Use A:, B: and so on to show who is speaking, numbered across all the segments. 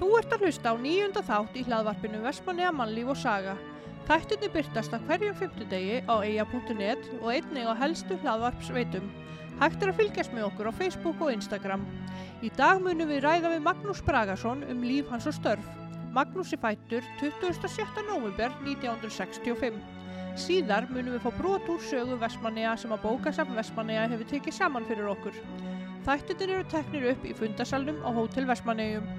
A: Þú ert að hlusta á nýjunda þátt í hlaðvarpinu Vestmanniða mannlíf og saga. Þættinni byrtast að hverjum fymtudegi á eia.net og einnig á helstu hlaðvarpsveitum. Hægt er að fylgjast með okkur á Facebook og Instagram. Í dag munum við ræða við Magnús Bragason um líf hans og störf. Magnús er fættur 27. november 1965. Síðar munum við fá brot úr sögu Vestmanniða sem að bókasafn Vestmanniða hefur tekið saman fyrir okkur. Þættinir eru teknir upp í fundasalnum á Hótel Vestmanniðum.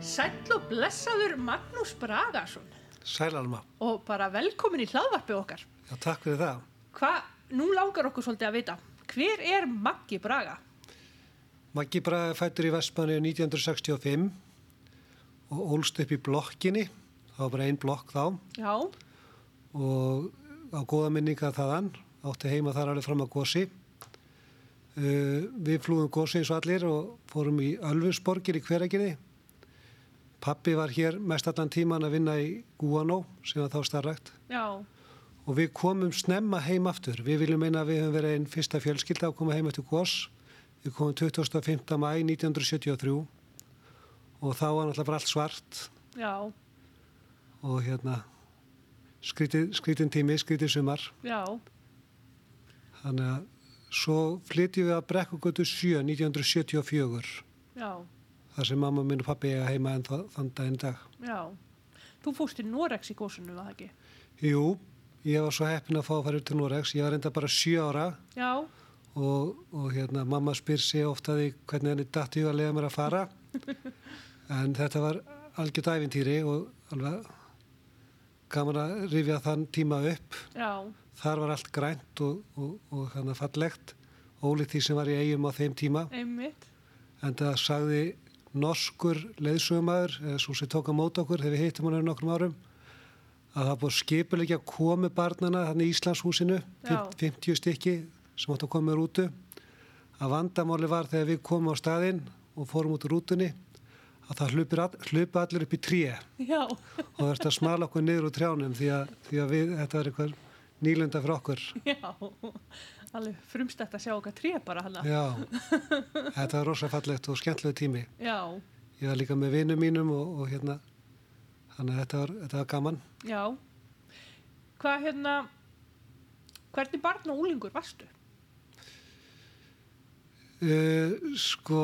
A: Sæll og blessaður Magnús Bragason
B: Sælalma,
A: og bara velkomin í hlaðvarpið okkar.
B: já takk fyrir það.
A: Hvað, nú langar okkur svolítið að vita, hver er Maggi Braga?
B: Maggi Braga er fættur í Vestmanni 1965 og ólst upp í blokkinni, það var bara einn blokk þá
A: Já,
B: og á góða minninga þaðan, átti heima þar alveg fram að gósi. Uh, við flúðum gósi eins og allir og fórum í Ölfusborgir í hveraginni. Pappi var hér mest allan tíman að vinna í Guano sem var þá starrakt
A: já,
B: og við komum snemma heim aftur. Við viljum meina að við höfum verið einn fyrsta fjölskylda að koma heim eftir gos. Við komum 25. mæ 1973 og þá var náttúrulega bara allt svart
A: já,
B: og hérna skrítið, skrítin tími, skrítið sumar.
A: já,
B: Þannig að svo flytjum við að brekkugötu 7 1974
A: já,
B: þar sem mamma mín og pappi eiga heima en þann daginn dag.
A: já. Þú fórst til Norex í gósunum, var það ekki?
B: Jú, ég var svo heppin að fá að fara upp til Noregs. Ég var enda bara 7 ára
A: Já,
B: og, og hérna, mamma spyr sig ofta því hvernig henni datt í að leiða mér að fara en þetta var algjört æfintýri og alveg gaman að rifja þann tíma upp
A: já,
B: þar var allt grænt og, og, og hérna fallegt ólíkt því sem var í eigum á þeim tíma
A: einmitt,
B: en það sagði norskur leiðsögumæður, svo sem tók á mót okkur þegar við hittum hann um nokkrum árum að það búið skipulegja komu barnana þannig í Íslandshúsinu,
A: Já.
B: 50 stykki sem áttu að koma með rútu að vandamáli var þegar við komum á staðinn og fórum út úr rútunni að það hlupir all, hlupa allir upp í tríu
A: já,
B: og það verður að smala okkur niður úr trjánum því að, því að við, þetta var einhver nýlunda fyrir okkur
A: já. Alveg frumstætt að sjá okkar tré bara hana.
B: Já, þetta var rosa fallegt og skemmtilegu tími
A: Já,
B: ég var líka með vinnum mínum og, og hérna þannig að þetta var, þetta var gaman
A: já. Hvað hérna, hvernig barn og úlingur varstu?
B: uh, sko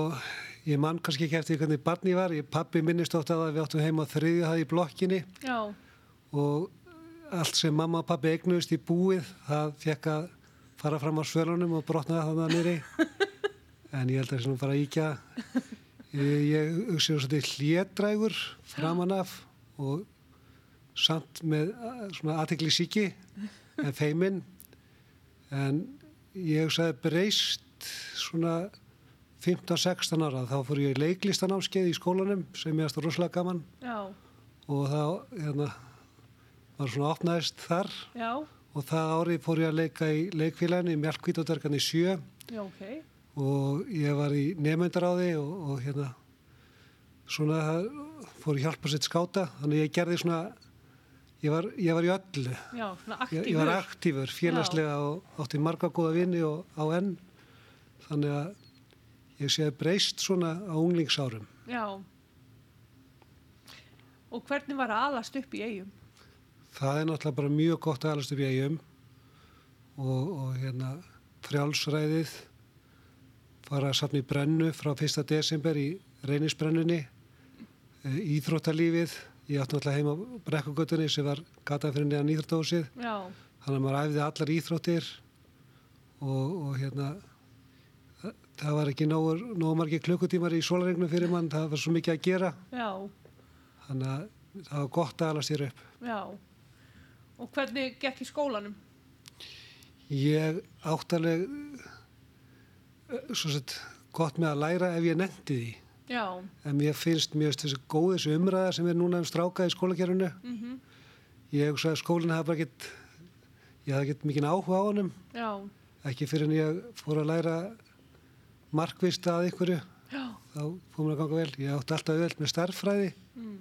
B: ég mann kannski ekki eftir því hvernig barn ég var ég, pappi minnist ótt að við áttum heima á þriðju hæð í blokkinni
A: Já,
B: og allt sem mamma og pappi eignuðist í búið það fekk að fara fram á svölunum og brotnaði þannig að nýri en ég held að það er svona bara íkja ég, ég hugsi um svolítið hlédrægur framan af og samt með eh, svona aðtekli síki en feiminn en ég hugsaði breyst svona 15-16 ára þá fór ég í leiklistanámskeið í skólanum sem ég aðstu rosalega gaman
A: já,
B: og þá hérna, var svona opnaðist þar
A: já,
B: og það árið fór ég að leika í leikfélaginu í Mjölkvítodverkan í sjö
A: já, ok.
B: og ég var í nefnendaráði og, og hérna svona það fór ég hjálpa sitt skáta þannig ég gerði svona ég var, ég var í öllu
A: Já, svona
B: ég,
A: aktífur.
B: ég var aktífur, félagslega og átti marga góða vini og á enn þannig að ég séð breyst svona á unglingsárum
A: Já. Og hvernig var að alast upp í eigum?
B: Það er náttúrulega bara mjög gott að alast upp í eigum og, og hérna frjálsræðið fara að safna í brennu frá 1. desember í reynisbrennunni eh, íþróttalífið ég átti náttúrulega heima á brekkugötunni sem var gata fyrir neðan íþróttahúsið
A: Já,
B: þannig að maður æfði allar íþróttir og, og hérna það- það var ekki nógur, nógur margir klukkutímar í sólaregnum fyrir mann, það var svo mikið að gera
A: já,
B: þannig að það var gott að alast þér upp
A: já. Og hvernig gekk í skólanum?
B: Ég átt alveg eh, svo sett gott með að læra ef ég nefndi því
A: Já,
B: en mér finnst mjög þessi góð þessi umræða sem er núna um stráka í skólakerfinu
A: mm
B: ég hugsa að skólinn hafa bara gett ég hafði gett mikinn áhuga á honum
A: já,
B: ekki fyrir en ég fór að læra markvist að ykkurju
A: já,
B: þá fór mér að ganga vel ég átti alltaf öll með starffræði
A: mm,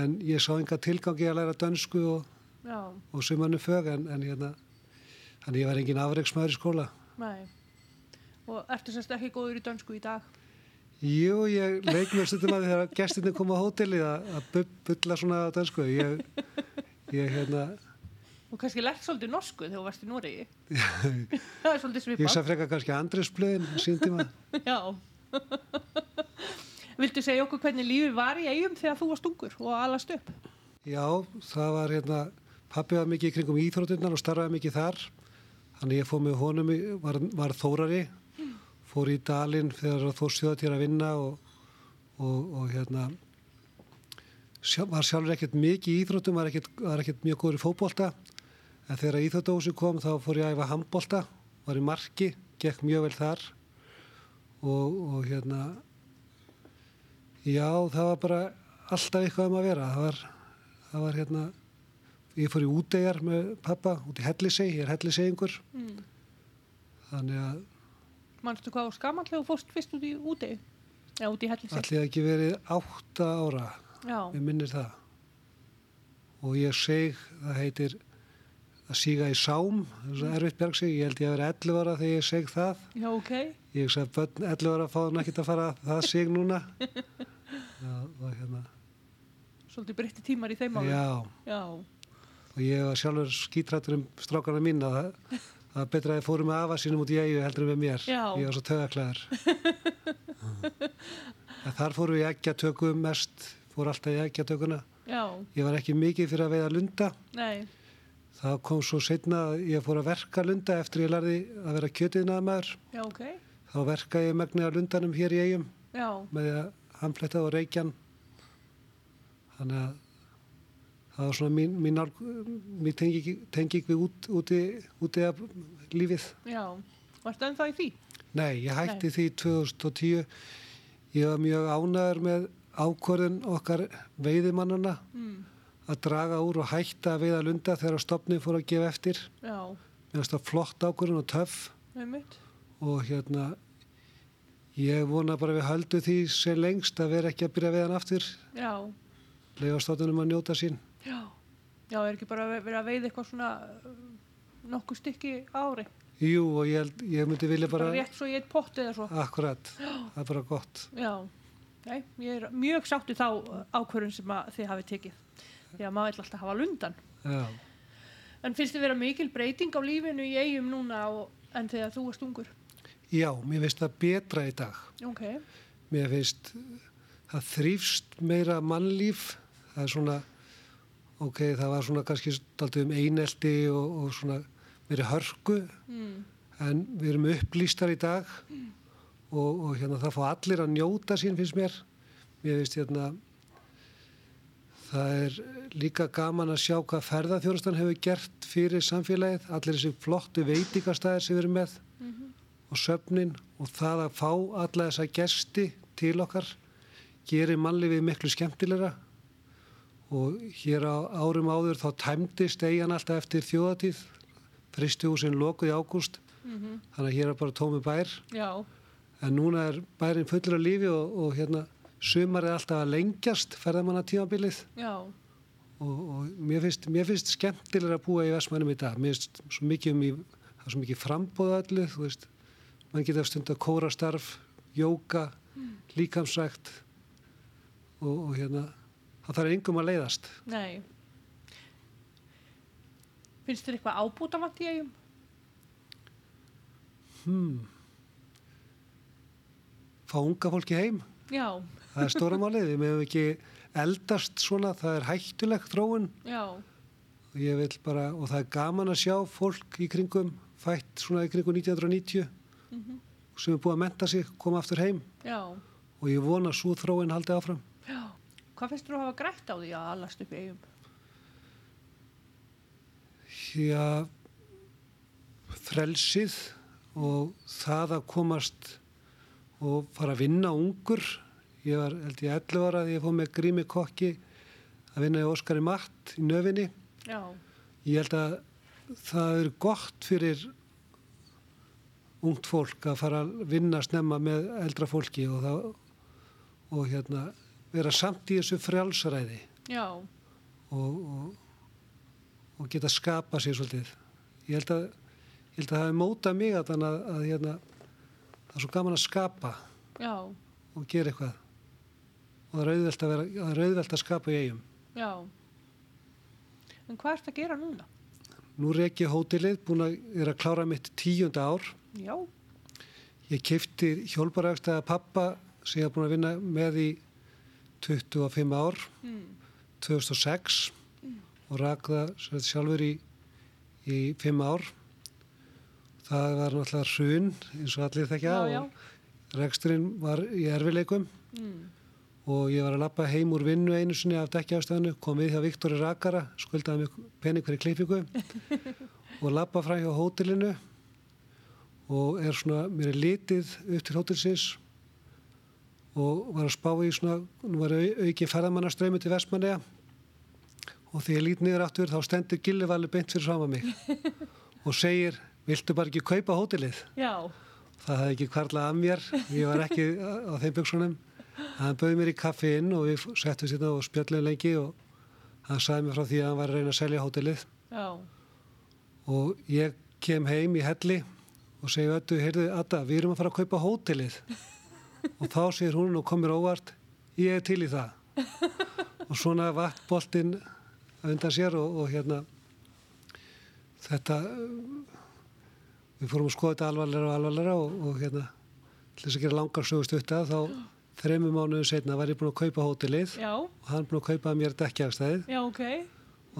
B: en ég sá enga tilgangi að læra dönsku og,
A: já,
B: og sumannu fög en, en hérna þannig ég var engin afreiksmaður í skóla
A: nei. Og ertu sérst ekki góður í dönsku í dag?
B: Jú, ég leik mér stundum að því þegar gestinni kom á hótelið að að bu- bulla svona á dansku. Ég, ég, hérna,
A: Og kannski lært svolítið norsku þegar þú varst í Noregi. það er svolítið
B: ég
A: svipað.
B: sá frekar kannski Andresblöðin sín tíma.
A: Já. Viltu segja okkur hvernig lífið var í eigum þegar þú varst ungur og alast upp?
B: Já, það var hérna, pappi var mikið í kringum íþróttinnar og starfaði mikið þar. Þannig ég fór með honum, í- var, var þórari, fór í Dalinn þegar þó sjöðatýr að vinna og, og, og hérna, sjá, var sjálfur ekkert mikið í íþróttum, var ekkert, var ekkert mjög góður í fótbolta. En þegar íþróttahúsi kom þá fór ég að æfa handbolta, var í marki, gekk mjög vel þar og, og hérna, já það var bara alltaf eitthvað um að vera. Það var, það var hérna, ég fór í útegjar með pappa út í Hellisei, ég er Helliseiingur.
A: Mm.
B: Þannig að
A: Manstu hvað var skaman þegar þú fórst fyrst út í útegi? Já, út í hellisig.
B: allir ekki verið átta ára,
A: Já,
B: við minnir það. Og ég seg, það heitir að síga í sám, það er svo erfitt bjargsig, ég held ég að vera 11 ára þegar ég seg það.
A: já, ok.
B: Ég hugsa að börn 11 ára fá hann ekkert að fara það sig núna. Já, og hérna,
A: Svolítið breytti tímar í þeim ára.
B: já,
A: Já.
B: og ég var sjálfur skítrættur um strákana mína, það, það er betra að ég fóru með afa sínum út í eigu heldur en með mér.
A: Já.
B: Ég var svo tögaklæður. Þar fóru við í eggjatöku mest, fóru alltaf í eggjatökuna.
A: Já,
B: Ég var ekki mikið fyrir að veiða lunda.
A: nei,
B: Það kom svo setna að ég fór að verka lunda eftir ég lærði að vera kjötiðnaðamæður.
A: já, ok.
B: Þá verka ég megnið af lundanum hér í eigum
A: Já,
B: með því að hamfletta og reykjan. Þannig að það var svona mín, mín, nálg- mín tenging, tenging við út, úti, úti af lífið.
A: já. Varstu ennþá í því?
B: Nei, ég hætti því í 2010. Ég var mjög ánæður með ákvörðun okkar veiðimannana
A: Mm.
B: að draga úr og hætta að veiða lunda þegar stopnin fór að gefa eftir.
A: Já,
B: Mér finnst það flott ákvörðun og töff
A: einmitt.
B: og hérna ég vona bara að við höldum því sem lengst að vera ekki að byrja veiðan aftur.
A: Já,
B: Leifa stofnunum að njóta sín.
A: já. Já, er ekki bara ve- verið að veiða eitthvað svona uh, nokkuð stykki á ári?
B: Jú og ég, held, ég myndi vilja
A: Bara,
B: bara,
A: rétt svo í eitt pott eða svo?
B: akkurat, það er bara gott.
A: Já, nei, ég er mjög sátt í þá uh, ákvörðun sem að þið hafið tekið. Því að maður vill alltaf hafa lundan.
B: Já.
A: En finnst þið vera mikil breyting á lífinu í eigum núna og, en þegar þú varst ungur?
B: Já, mér finnst það betra í dag.
A: Ok,
B: Mér finnst eh, það þrýfst meira mannlíf. Það er svona, ok, það var svona kannski staldið um einelti og, og svona meiri hörku.
A: mm.
B: En við erum upplýstar í dag og, og hérna það fá allir að njóta sín finnst mér. Mér finnst hérna, það er líka gaman að sjá hvað ferðarþjónustan hefur gert fyrir samfélagið. Allir þessi flottu veitingastæðir sem við erum með og söfnin og það að fá alla þessa gesti til okkar gerir mannlífið miklu skemmtilegra og hér á árum áður þá tæmdist eigin alltaf eftir þjóðatíð fristihúsin lokuð í ágúst
A: mhm.
B: þannig að hér er bara tómi bær
A: já,
B: en núna er bærin fullur af lífi og, og hérna sumar er alltaf að lengjast ferðamanna tímabilið
A: já,
B: og, og mér, finnst, mér finnst skemmtilega að búa í Vestmænum í dag mér finnst svo mikið um í, það er svo mikið frambóða öllu þú veist, mann geta stund að kóra starf jóka, líkamsrækt og, og hérna það þarf engum að leiðast
A: nei. Finnst þér eitthvað ábútavant í eigum?
B: hmm. fá unga fólki heim
A: Já,
B: Það er stóra málið, við meðum ekki eldast svona, það er hættuleg þróun
A: já.
B: og ég vil bara, og það er gaman að sjá fólk í kringum, fætt svona í kringum 1990
A: Mhm.
B: sem er búið að menta sig, koma aftur heim
A: Já,
B: og ég vona að svo þróun haldi áfram.
A: já. Hvað finnst þú að hafa grætt á því að allast upp í eigum?
B: Því að frelsið og það að komast og fara að vinna ungur, ég var held ég 11 ára þegar ég fóð með grími kokki að vinna í Óskari Matt í nöfinni
A: Já,
B: Ég held að það er gott fyrir ungt fólk að fara að vinna snemma með eldra fólki og, það, og hérna, vera samt í þessu frjálsaræði
A: já,
B: og, og, og geta skapa sér svolítið. Ég held að, ég held að það hefur mótað mig að, að, að hérna, það er svo gaman að skapa
A: já,
B: og, og gera eitthvað. Og það er auðvelt að, vera, það er auðvelt að skapa í eigum.
A: Já. En hvað ertu að gera núna?
B: Nú er ekki hótelið, búin að, er að klára mitt tíunda ár.
A: Já.
B: Ég kefti hjólbaragstæða pappa sem ég hef búin að vinna með í 25 ár,
A: Mm.
B: 2006 og rak það sem sagt, sjálfur í, í 5 ár. Það var náttúrulega hrun eins og allir þekkja
A: Já, já.
B: og reksturinn var í erfileikum
A: Mm.
B: og ég var að lappa heim úr vinnu einu sinni af dekkjafstæðinu, kom við hjá Viktori Rakara, skuldaði mig pening fyrir klippingu og lappa fram hjá hótelinu og er svona, mér er litið upp til hótelsins og var að spá í svona, nú var au, auki ferðamannaströymi til Vestmanneja og þegar ég lít niður aftur þá stendur Gillivali beint fyrir sama mig og segir, viltu bara ekki kaupa hótelið?
A: Já.
B: Það hefði ekki kvarlað að mér, ég var ekki á á þeim byggsunum. Hann bauði mér í kaffi inn og við settum sérna og spjöllum lengi og hann sagði mér frá því að hann var að reyna að selja hótelið.
A: Já.
B: Og ég kem heim í helli og segi öllu, heyrðu, Adda, við erum að fara að kaupa hótelið. Og þá segir hún og komir óvart, ég er til í það. Og svona vatt boltinn undan sér og, og hérna, þetta, uh, við fórum að skoða þetta alvarlega og alvarlega og, og hérna, til þess að gera langar sögust upp það, þá þreymum mánuðum setna var ég búin að kaupa hótelið
A: Já.
B: og hann búin að kaupa mér dekkjagstæðið
A: Já, ok.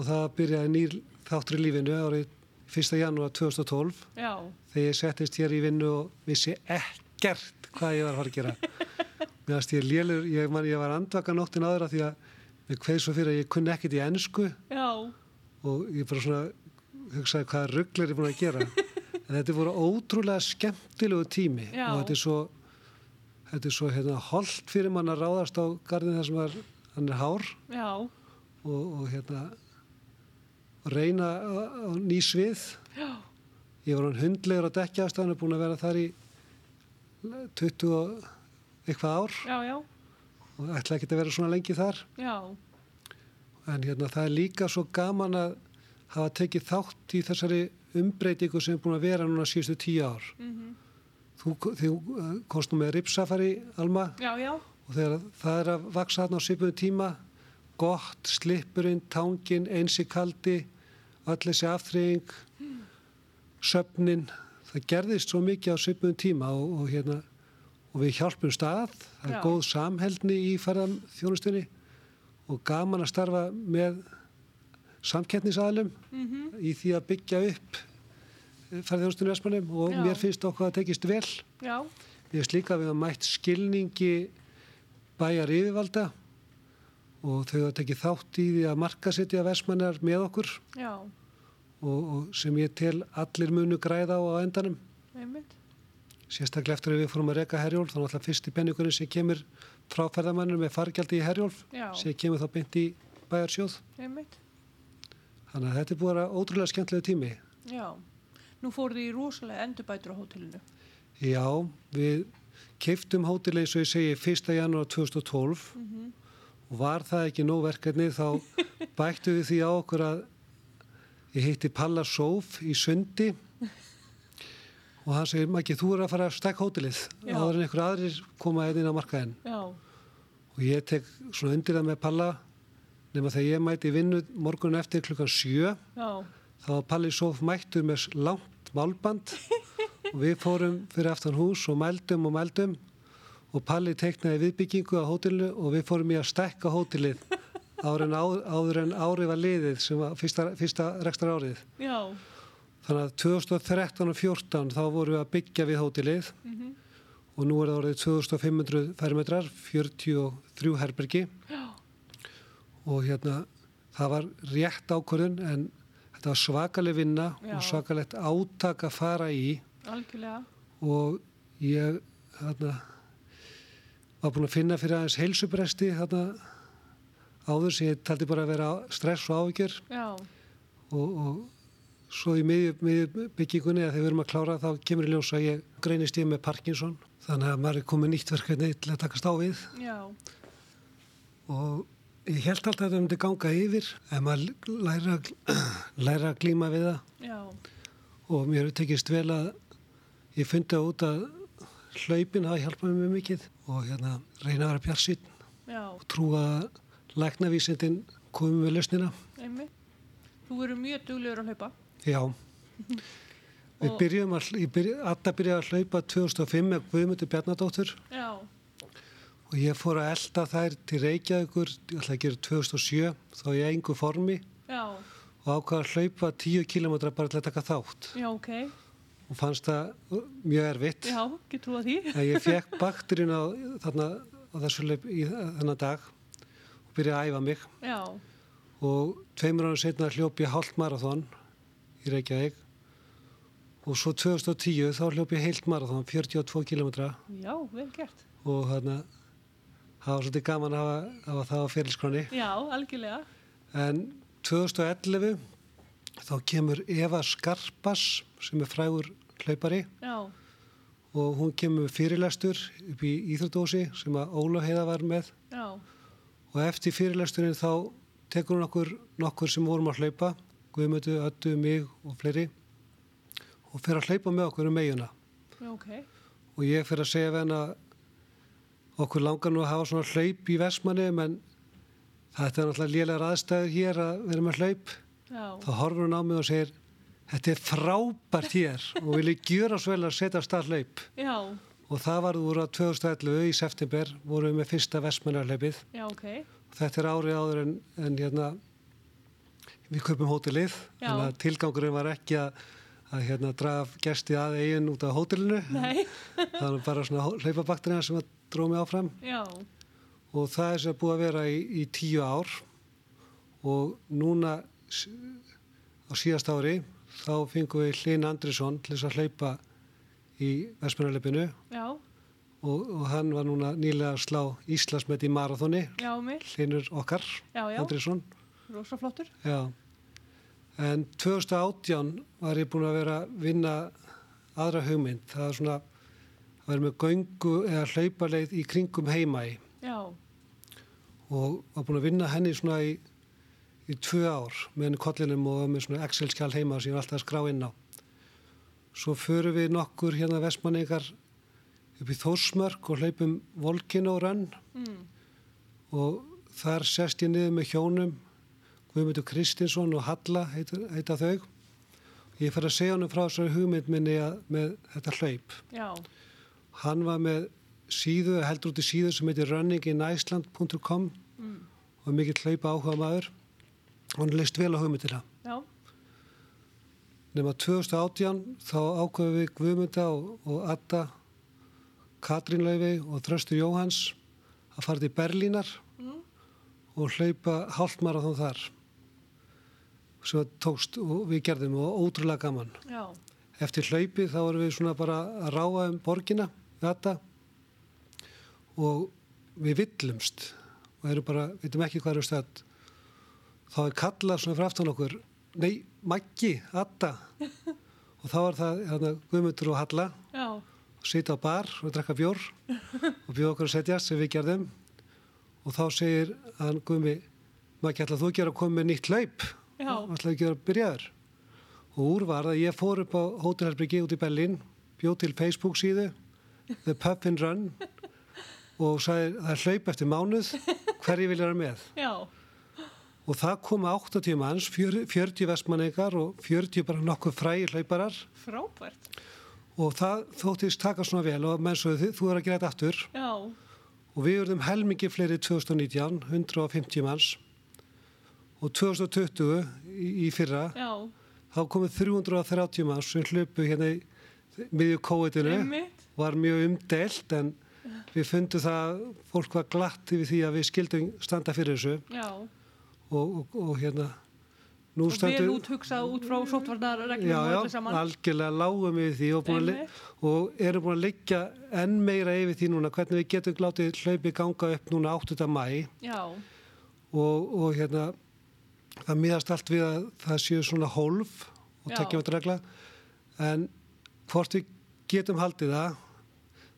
B: og það byrjaði nýr þáttur í lífinu árið 1. janúar 2012
A: Já.
B: þegar ég settist hér í vinnu og vissi ekkert hvað ég var að fara að gera mér fannst ég lélur, ég man ég var andvaka nóttin áður af því að mér kveið svo fyrir að ég kunni ekkert í ennsku
A: Já.
B: og ég bara svona hugsaði hvaða rugl er ég búin að gera en þetta voru ótrúlega skemmtilegu tími
A: Já.
B: og þetta er svo þetta er svo hérna holdt fyrir mann að ráðast á garðin þar sem var, hann er hár
A: Já.
B: og, og hérna og reyna á- á ný svið
A: Já.
B: ég var hann hundlegur að dekja ástæðan og búin að vera þar í 20 og eitthvað ár
A: Já, já.
B: og ætla ekki að vera svona lengi þar
A: Já.
B: en hérna það er líka svo gaman að hafa tekið þátt í þessari umbreytingu sem er búin að vera núna síðustu tíu ár
A: Mm
B: þú, þú eh, komst nú með ripsafari Alma
A: Já, já.
B: og þegar það er að vaksa þarna á svipuðu tíma gott, slippurinn, tangin, einsi kaldi öll þessi aftreying söfnin það gerðist svo mikið á svipuðu tíma og, og hérna og við hjálpum stað, það er
A: Já.
B: góð samheldni í ferðan þjónustunni og gaman að starfa með samkettnisaðlum
A: Mhm.
B: í því að byggja upp ferðjónustunni Vespunum og
A: Já.
B: mér finnst okkur að tekist vel
A: Já.
B: Mér finnst líka að við hafa mætt skilningi bæjar yfirvalda og þau hafa tekið þátt í því að markasetja versmannar með okkur
A: Já.
B: og, og sem ég tel allir munu græða á á endanum.
A: Einmitt.
B: Sérstaklega eftir að við fórum að reka Herjólf, þannig alltaf fyrsti penningurinn sem kemur frá ferðamanninu með fargjaldi í Herjólf,
A: Já.
B: sem kemur þá beint í bæjarsjóð.
A: Einmitt.
B: Þannig að þetta er búið að vera ótrúlega skemmtilegu tími.
A: Já. Nú fór því rosalega endurbætur á hótelinu.
B: Já, við keiftum hótelið, eins og ég segi, 1. janúar 2012
A: Mm
B: og var það ekki nóg verkefni þá bættu við því á okkur að ég hitti Palla Sóf í sundi og hann segir Maggi þú er að fara að stekk hótelið
A: Já.
B: áður en einhver aðrir koma hérna inn á markaðinn
A: Já.
B: og ég tek svona undir það með Palla nema þegar ég mæti í vinnu morgun eftir klukkan sjö
A: Já.
B: þá var Palli Sóf mættu með s- langt málband og við fórum fyrir aftan hús og mældum og mældum og Palli teiknaði viðbyggingu á hótelinu og við fórum í að stekka hótelið áður en, áður, áður en árið var liðið sem var fyrsta, fyrsta rekstar árið.
A: Já.
B: Þannig að 2013 og 14 þá vorum við að byggja við hótelið
A: Mm
B: og nú er það orðið 2500 fermetrar, 43 herbergi
A: Já.
B: og hérna það var rétt ákvörðun en þetta var svakaleg vinna
A: Já.
B: og svakalegt átak að fara í
A: Algjörlega.
B: og ég hérna var búin að finna fyrir aðeins heilsubresti hérna áður sem ég taldi bara að vera stress og áhyggjur
A: Já.
B: og, og svo í miðju, miðju byggingunni að þegar við erum að klára þá kemur í ljós að ég greinist ég með Parkinson þannig að maður er komið nýtt verkefni til að takast á við
A: Já.
B: og ég held alltaf að þetta myndi ganga yfir en maður læra, læra að glíma við það
A: Já.
B: og mér hefur tekist vel að ég fundi út að hlaupin hafa hjálpað mér mjög mikið og hérna reyna að vera bjarsinn
A: já,
B: og trúa að læknavísindin komum við lausnina.
A: einmitt. Þú eru mjög duglegur að hlaupa.
B: Já, við
A: Og-
B: byrjum að, ég byrja, Adda byrjaði að hlaupa 2005 með Guðmundur Bjarnadóttur
A: Já,
B: og ég fór að elda þær til Reykjavíkur, ég ætla að gera 2007, þá ég engu formi
A: já,
B: og ákvaða að hlaupa 10 km bara til að taka þátt
A: já, ok.
B: og fannst það uh, mjög erfitt.
A: Já, getur þú að því?
B: að ég fekk bakturinn á, þarna, á þessu leip í þennan dag og byrjaði að æfa mig
A: Já,
B: og tveimur ánum setna hljóp ég hálft marathon í Reykjavík og svo 2010 þá hljóp ég heilt marathon, 42 km
A: já, vel gert.
B: og þarna það var svolítið gaman að hafa, hafa það á fyrirskráni
A: Já, algjörlega.
B: en 2011 þá kemur Eva Skarpas sem er frægur hlaupari
A: Já,
B: og hún kemur með fyrirlestur upp í Íþjóðdósi sem að Óla Heiða var með
A: já,
B: og eftir fyrirlesturinn þá tekur hún okkur nokkur sem vorum að hlaupa Guðmöndu, Öttu, mig og fleiri og fer að hlaupa með okkur um meginna
A: já, ok.
B: og ég fer að segja við henn að okkur langar nú að hafa svona hlaup í Vestmanni en þetta er náttúrulega lélegar aðstæður hér að vera með hlaup
A: Já,
B: þá horfur hún á mig og segir þetta er frábært hér og vil ég gjöra svo vel að setja af stað hlaup
A: já,
B: og það varð úr að 2011 í september vorum við með fyrsta Vestmanni
A: já, ok.
B: Þetta er árið áður en, en hérna, við kaupum hótelið,
A: Já.
B: þannig að tilgangurinn var ekki að, að hérna, draga gesti að eigin út af hótelinu,
A: Nei,
B: það var bara svona hlaupabakterina sem að drómi áfram
A: já,
B: og það er sem búið að vera í, í tíu ár og núna s- á síðast ári þá fengum við Hlyn Andrisson til þess að hlaupa í Vestmennarleipinu
A: já,
B: og, og hann var núna nýlega að slá Íslandsmet í marathoni,
A: já, mig.
B: Hlynur okkar,
A: Já, já,
B: Andrisson.
A: rosa flottur.
B: Já, en 2018 var ég búin að vera að vinna aðra hugmynd. Það er svona að vera með göngu eða hlaupaleið í kringum heimæi
A: Já,
B: og var búin að vinna henni svona í, í tvö ár með henni kollinum og var með svona Excel-skjál heima sem ég var alltaf að skrá inn á. Svo förum við nokkur hérna vestmanningar upp í Þórsmörk og hlaupum Volkino Run
A: mm.
B: og þar sest ég niður með hjónum Guðmundur Kristinsson og Halla heita, heita þau ég fer að segja honum frá þessari hugmynd minni að, með þetta hlaup
A: já,
B: hann var með síðu, heldur út í síðu sem heitir runninginiceland.com
A: mm.
B: og er mikill hlaupa áhuga maður og hann leist vel á hugmyndina
A: já,
B: nema 2018 þá ákveðum við Guðmunda og, og Adda Katrín Laufi og Þröstur Jóhans að fara til Berlínar
A: Mm.
B: og hlaupa hálfmarathon þar sem að tókst og við gerðum og ótrúlega gaman
A: já,
B: eftir hlaupi þá erum við svona bara að ráfa um borgina við Adda og við villumst og erum bara, veitum ekki hvað erum stödd þá er kallað svona fyrir aftan okkur nei, Maggi, Adda og þá var það hérna, Guðmundur og Halla
A: já,
B: og sita á bar og drekka bjór og bjóða okkur að setjast sem við gerðum og þá segir hann Guðmi Maggi, ætlaðu þú að gera að koma með nýtt hlaup
A: já,
B: ætlaði ekki að vera byrjaður. Og úr var að ég fór upp á hótelherbyggi út í Berlín, bjóð til Facebook síðu, The Puffin Run og sagði það er hlaup eftir mánuð, hverju vilja vera með?
A: já,
B: Og það koma 80 manns, 40 40 vestmanningar og 40 bara nokkuð frægir hlauparar
A: frábært.
B: og það þóttist taka svona vel og menn svo þið, þú er að gera þetta aftur
A: Já,
B: og við verðum helmingi fleiri 2019, 150 manns og 2020 í, í fyrra
A: já,
B: þá komið 330 mann sem hlupu hérna í miðju kóitinu
A: einmitt,
B: var mjög umdelt en við fundum það að fólk var glatt yfir því að við skildum standa fyrir þessu
A: já.
B: og, og, og hérna nú
A: Og vel
B: standum
A: út hugsað út frá sóttvarnarreglum
B: já,
A: og
B: já,
A: öllu saman.
B: algjörlega lágum yfir því og, búin að,
A: Einmitt.
B: le- og erum búin að liggja enn meira yfir því núna hvernig við getum látið hlaupi ganga upp núna 8. mæ
A: Já,
B: og, og hérna það miðast allt við að það séu svona hólf og
A: Já.
B: tekjumatregla en hvort við getum haldið það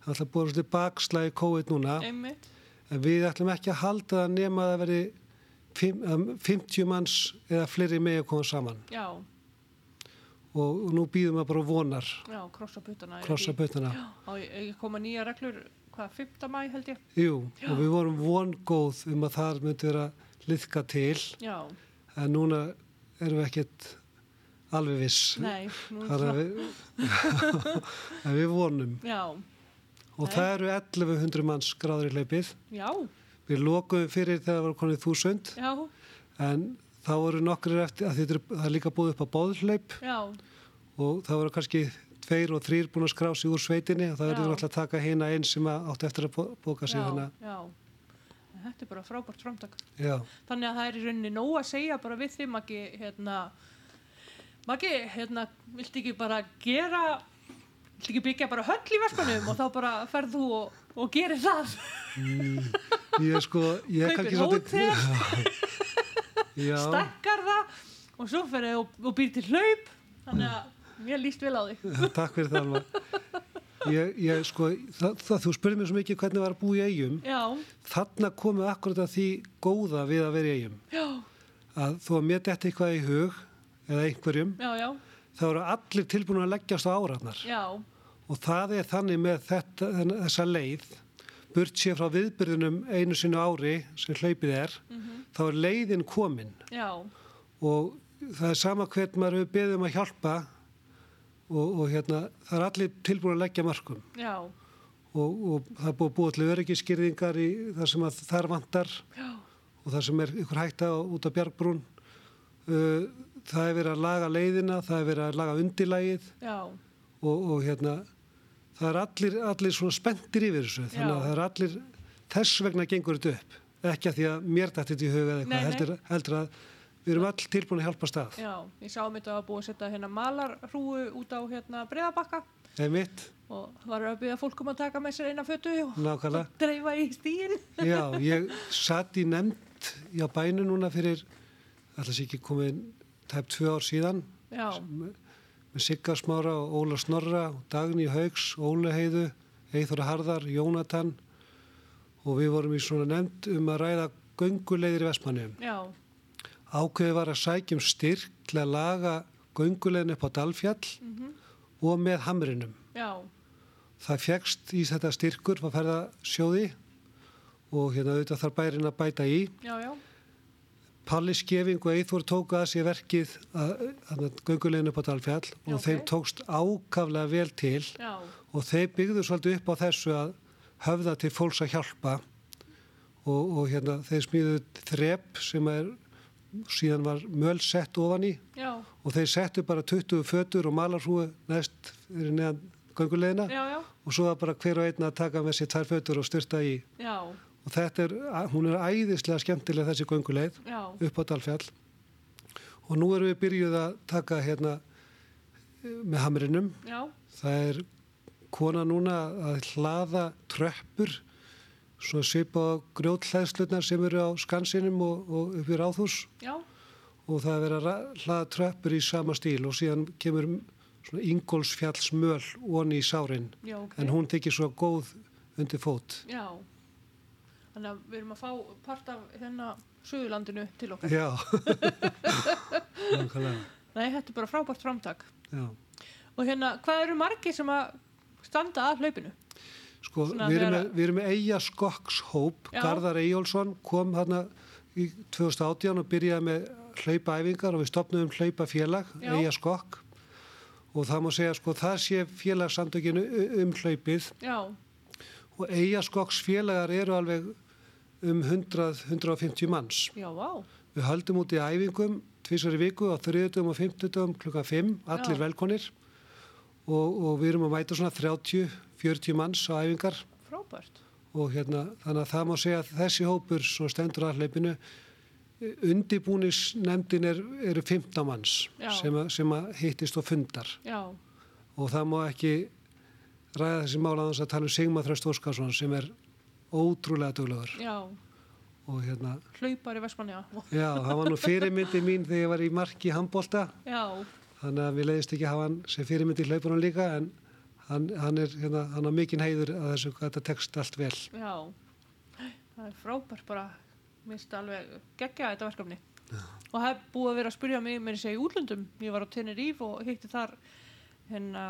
B: það er alltaf búið svolítið bakslæði COVID núna
A: einmitt,
B: en við ætlum ekki að halda það nema að það veri fimm- um, 50 manns eða fleiri með að koma saman
A: já,
B: og nú býðum við bara vonar
A: Já, krossa puttana.
B: krossa bautana.
A: Já, ég- ég koma nýja reglur, hvað, 5. mæ held ég?
B: Jú, og við vorum vongóð um að þar myndi vera liðka til
A: Já,
B: en núna erum við ekkert alveg viss.
A: nei, nú er
B: Þar að
A: það.
B: við, en við vonum.
A: Já,
B: Og
A: Nei.
B: það eru 1100 manns gráður í hlaupið.
A: já,
B: Við lokuðum fyrir þegar það var konið 1000
A: já,
B: en þá eru nokkrir eftir að þetta er, það er líka búið upp á bóðhlaup
A: já,
B: og það voru kannski tveir og þrýr búin að skrá sig úr sveitinni og það
A: Já.
B: verður náttúrulega að taka hina einn sem að átti eftir að bó- bóka sig
A: já,
B: hana.
A: já. Þetta er bara frábært framtak.
B: Já,
A: Þannig að það er í rauninni nóg að segja bara við þig, Maggi, hérna, Maggi, hérna, viltu ekki bara gera, viltu ekki byggja bara höll í versmanum og þá bara ferð þú og, og gerir það.
B: ég er sko, ég er
A: Kaupir
B: kannski svolítið... Já, já,
A: stakkar það og svo fer ég og, og býr til hlaup þannig að mér líst vel á þig
B: takk fyrir það alveg. Ég, ég sko, það, það, þú spurði mér svo mikið hvernig var að búa í eigum.
A: já,
B: Þarna komu akkurat að því góða við að vera í eigum.
A: já,
B: Að þó að mér detti eitthvað í hug, eða einhverjum,
A: já, já,
B: þá eru allir tilbúin að leggjast á áratnar.
A: já
B: Og það er þannig með þetta, þenn- þessa leið, burt sér frá viðbyrðunum einu sinni á ári sem hlaupið er, þá er leiðin komin
A: já,
B: og það er sama hvern maður hefur beðið um að hjálpa og, og hérna, það er allir tilbúin að leggja markum
A: já,
B: og, og það er búið að búið til öryggiskyrðingar í þar sem að þar vantar
A: já,
B: og þar sem er ykkur hætta á, út á bjargbrún. Uh, það er verið að laga leiðina, það er verið að laga undirlægið
A: já,
B: og, og hérna það er allir, allir svona spenntir yfir þessu þannig
A: Já.
B: að það er allir þess vegna gengur þetta upp ekki að því að mér dætti þetta í huga eða
A: Nei,
B: eitthvað
A: nei.
B: heldur, heldur að við erum all tilbúin að hjálpa stað
A: já ég sá mitt að það var búið að setja hérna malarhrúu út á hérna breiðabakka
B: eða mitt,
A: og var að byggja fólk um að taka með sér eina fötu og
B: nákvæmlega
A: dreifa í stíin
B: já, ég satt í nefnd í á bænu núna fyrir alltaf sé ekki komið tæp tvö ár síðan
A: já,
B: með Sigga Smára og Óla Snorra, Dagný Haugs, Óle Heiðu, Eithora Harðar, Jónatan og við vorum í svona nefnd um að ræða gönguleiðir í Vestmannum.
A: já,
B: Ákveðið var að sækjum styrk til að laga gönguleiðin upp á Dalfjall
A: Mhm.
B: og með hamrinum.
A: já,
B: Það fjekst í þetta styrkur að ferða sjóði og hérna auðvitað þarf bærin að bæta í.
A: já, já
B: Palli Skeving og Eithor tóku að sér verkið að, að göngulegin upp á Dalfjall og
A: Já, ok.
B: þeim tókst ákaflega vel til
A: já,
B: og þeir byggðu svolítið upp á þessu að höfða til fólks að hjálpa og, og hérna þeir smíðuðu þrep sem er síðan var möl sett ofan í
A: já,
B: og þeir settu bara 20 fötur og malarhúi næst fyrir neðan göngulegina
A: já, já,
B: og svo var bara hver og einn að taka með sér tvær fötur og styrta í
A: já,
B: og þetta er, hún er æðislega skemmtileg þessi gönguleið
A: já,
B: upp á Dalfjall og nú erum við byrjuð að taka hérna eh, með hamrinum.
A: já,
B: Það er kona núna að hlaða tröppur svo svipa á grjótlæðslutnar sem eru á skansinum og, og upp í ráðhús
A: já,
B: og það er verið að ra- hlaða tröppur í sama stíl og síðan kemur svona Ingolsfjallsmöl onni í sárin
A: já, ok.
B: en hún tekir svo góð undir fót.
A: Já, þannig að við erum að fá part af hérna Suðurlandinu til okkar.
B: Já, nákvæmlega,
A: Nei, þetta er bara frábært framtak.
B: já.
A: Og hérna, hvað eru margir sem að standa að hlaupinu?
B: Sko,
A: Svona
B: við erum,
A: þegar-
B: með, við erum með Eyja Skokkshóp,
A: Já.
B: Garðar Eyjólfsson kom hérna í 2018 og byrjaði með hlaupaæfingar og við stopnum hlaupafélag,
A: Já.
B: Eyja Skokk og það má segja sko það sé félagsamtökinu u- um hlaupið
A: Já,
B: og Eyja Skokks félagar eru alveg um 100-150 manns.
A: já, vá,
B: Við höldum út í æfingum tvísar í viku á 30 og 50 klukka 5, allir
A: Já.
B: velkonir og, og við erum að mæta svona 30-40 manns á æfingar
A: frábært.
B: og hérna, þannig að það má segja að þessi hópur svo stendur að hlaupinu undibúningsnefndin er, eru 15 manns
A: Já.
B: sem, að, sem að hittist og fundar
A: Já,
B: og það má ekki ræða þessi mála aðeins að tala um Sigma Þröst Óskarsson sem er ótrúlega duglegur
A: já,
B: og hérna,
A: hlaupar í Vestmannia.
B: já, hann var nú fyrirmyndi mín þegar ég var í marki í handbólta
A: Já,
B: þannig að við leiðist ekki að hafa hann sem fyrirmyndi í hlaupunum líka en hann, hann er hérna, hann á mikinn heiður að þessu, að þetta tekst allt vel
A: já, það er frábært bara, mér finnst alveg geggja þetta verkefni. og það er búið að vera að spyrja mig mér segja í útlöndum, ég var á Tenerife og hitti þar hérna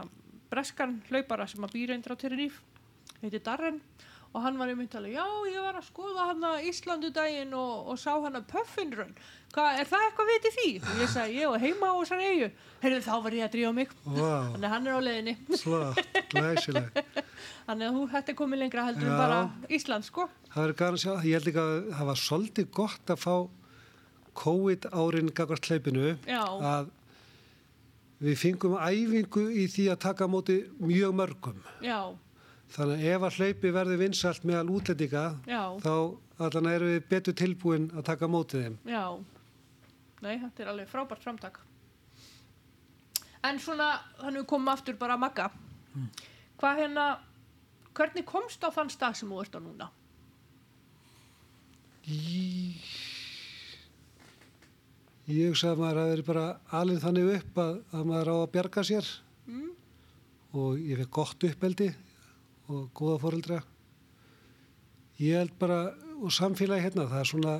A: breskan hlaupara sem að býr eindir á Tenerife heiti Darren og hann var einmitt alveg, já ég var að skoða hann að Íslandu daginn og, og sá hann að Puffinrun, Hva, er það eitthvað viti því? og ég sagði, ég var heima á þessar eigu heyrðu þá var ég að drífa mig
B: Vá,
A: þannig að hann er á leiðinni
B: flott, glæsileg.
A: þannig að þú þetta er komið lengra heldur
B: Já.
A: en bara Ísland sko
B: Það verður gana að sjá, ég held ekki að það var svolítið gott að fá COVID árin gagvart hlaupinu
A: Já.
B: að við fengum æfingu í því að taka á móti mjög mörgum.
A: já,
B: Þannig að ef að hlaupi verður vinsalt meðal útlendinga
A: Já.
B: þá allan erum við betur tilbúin að taka á móti þeim.
A: já nei, þetta er alveg frábært framtak en svona þannig við komum aftur bara að magga hvað hérna hvernig komst á þann stað sem þú ert á núna
B: Í- Ég hugsa að maður hafi verið bara alveg þannig upp að, að maður á að bjarga sér
A: Mm.
B: og ég fekk gott uppeldi og góða fóreldra. Ég held bara, og samfélagi hérna, það er svona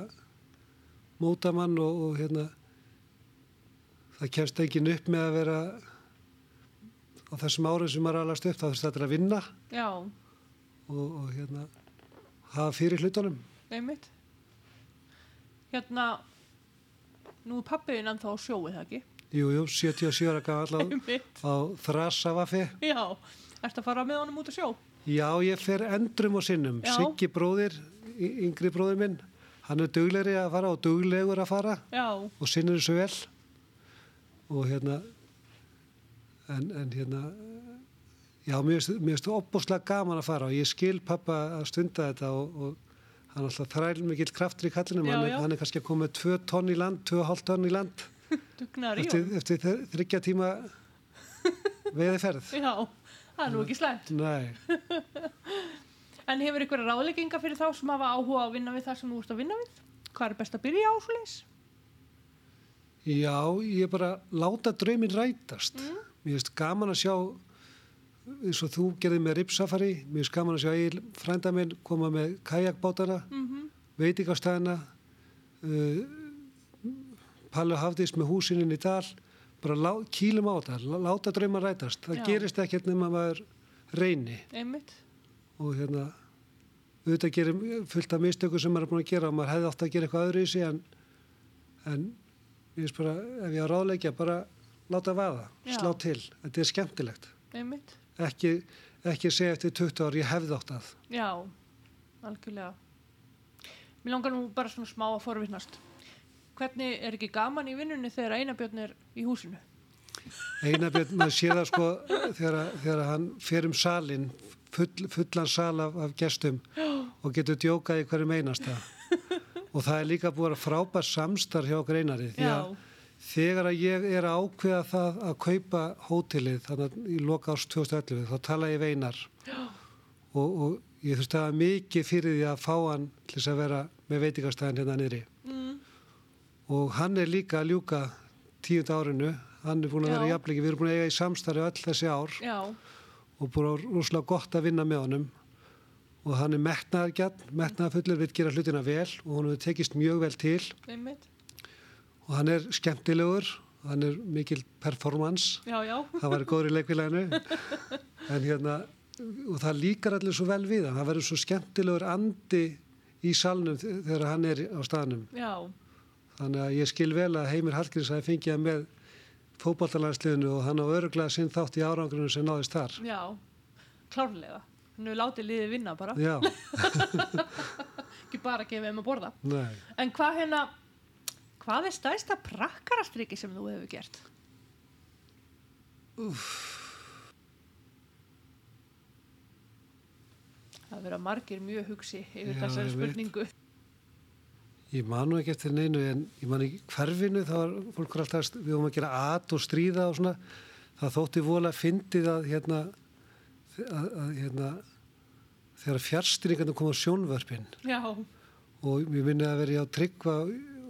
B: mótamann og, og hérna, það kemst enginn upp með að vera á þessum árum sem maður er alast upp, þá þurfti þetta að vinna
A: já,
B: og, og hérna, hafa fyrir hlutunum.
A: einmitt hérna nú er pappiðin ennþá á sjóið það ekki
B: Jú, jú, 77 ára gaf allavega
A: einmitt,
B: á Þrasafafi.
A: já ert að fara með honum út að sjó
B: Já, ég fer endrum og sinnum.
A: Já.
B: Siggi bróðir, y- yngri bróðir minn, hann er duglegri að fara og duglegur að fara
A: já,
B: og sinnur þessu vel. Og hérna, en, en hérna, já, mér finnst- mér finnst opbúslega gaman að fara og ég skil pappa að stunda þetta og, og hann er alltaf þræl mikill kraftur í kallinum.
A: Já,
B: hann, er,
A: já.
B: hann er kannski að koma með 2 tonn í land, 2,5 tonn í land
A: dugnar í
B: eftir,
A: honum
B: eftir þr- þriggja tíma veiðiferð.
A: já, það er nú ekki slæmt
B: Nei.
A: En hefur ykkur ráðlegginga fyrir þá sem hafa áhuga á að vinna við það sem þú ert að vinna við? Hvað er best að byrja á svo leys?
B: Já, ég bara láta draumin rætast. Mér finnst gaman að sjá, eins og þú gerði með ripsafari, mér finnst gaman að sjá Egil frænda minn koma með kajakbátana, mm
A: Mhm,
B: -hmm. veitingastæðina, uh, Pallu Hafdís með húsinin í dal, bara lá, kýlum á þetta, lá- láta draumin rætast. Það
A: Já.
B: gerist ekkert nema maður reyni
A: Einmitt.
B: og hérna auðvitað gerir fullt af mistöku sem maður er búin að gera og maður hefði átt að gera eitthvað öðru í sig en, en ég veist bara ef ég á ráðleikja bara láta vaða,
A: Já.
B: slá til þetta er skemmtilegt
A: Einmitt.
B: ekki, ekki segja eftir 20 ár ég hefði átt að
A: Já, algjörlega. Mér langar nú bara svona smá að forvittnast. Hvernig er ekki gaman í vinnunni þegar einabjörn er í húsinu?
B: Einarbjörn, maður sé það sko þegar, að- þegar að hann fer um salin full, fullan sal af, af gestum og getur djókað í hverjum einasta og það er líka búið að frábært samstarf hjá okkur einari því
A: Já,
B: að Þegar að ég er að ákveða það að kaupa hótelið þannig að í loka árs 2011 þá tala ég veinar og, og ég þurfti að hafa mikið fyrir því að fá hann til þess að vera með veitingastæðin hérna niðri
A: mm,
B: og hann er líka að ljúka tíund árinu hann er búin að
A: Já.
B: vera í jafnleiki, við erum búin að eiga í samstarfi öll þessi ár
A: já,
B: og búin að rúslega gott að vinna með honum og hann er metnaðargjarn, metnaðarfullur vil gera hlutina vel og hann hefur tekist mjög vel til
A: einmitt.
B: og hann er skemmtilegur, hann er mikil performance
A: Já, já,
B: það var góður í leikvélaginu en hérna og það líkar allir svo vel við hann það verður svo skemmtilegur andi í salnum þe- þegar hann er á staðnum
A: já,
B: þannig að ég skil vel að Heimir Hallgríms hafi fengið hann með fótballtalansliðinu og hann á öruglega sinn þátt í árangrunum sem náðist þar
A: já. Klárlega. Nú látið liðið vinna bara.
B: já,
A: Ekki bara að gefa þeim að borða.
B: nei
A: En hvað hérna, hvað er stæðsta prakkarastriki sem þú hefur gert? Það vera margir mjög hugsi yfir
B: Já,
A: þessari
B: ég veit.
A: spurningu.
B: Ég man nú ekki eftir neinu en ég man ekki hverfinu þá var fólk var alltaf, við vorum að gera at og stríða og svona, það þótti vola fyndið að hérna, að, að hérna, þegar fjárstýringarnir kom á sjónvörpin
A: Já,
B: og við minni að vera á tryggva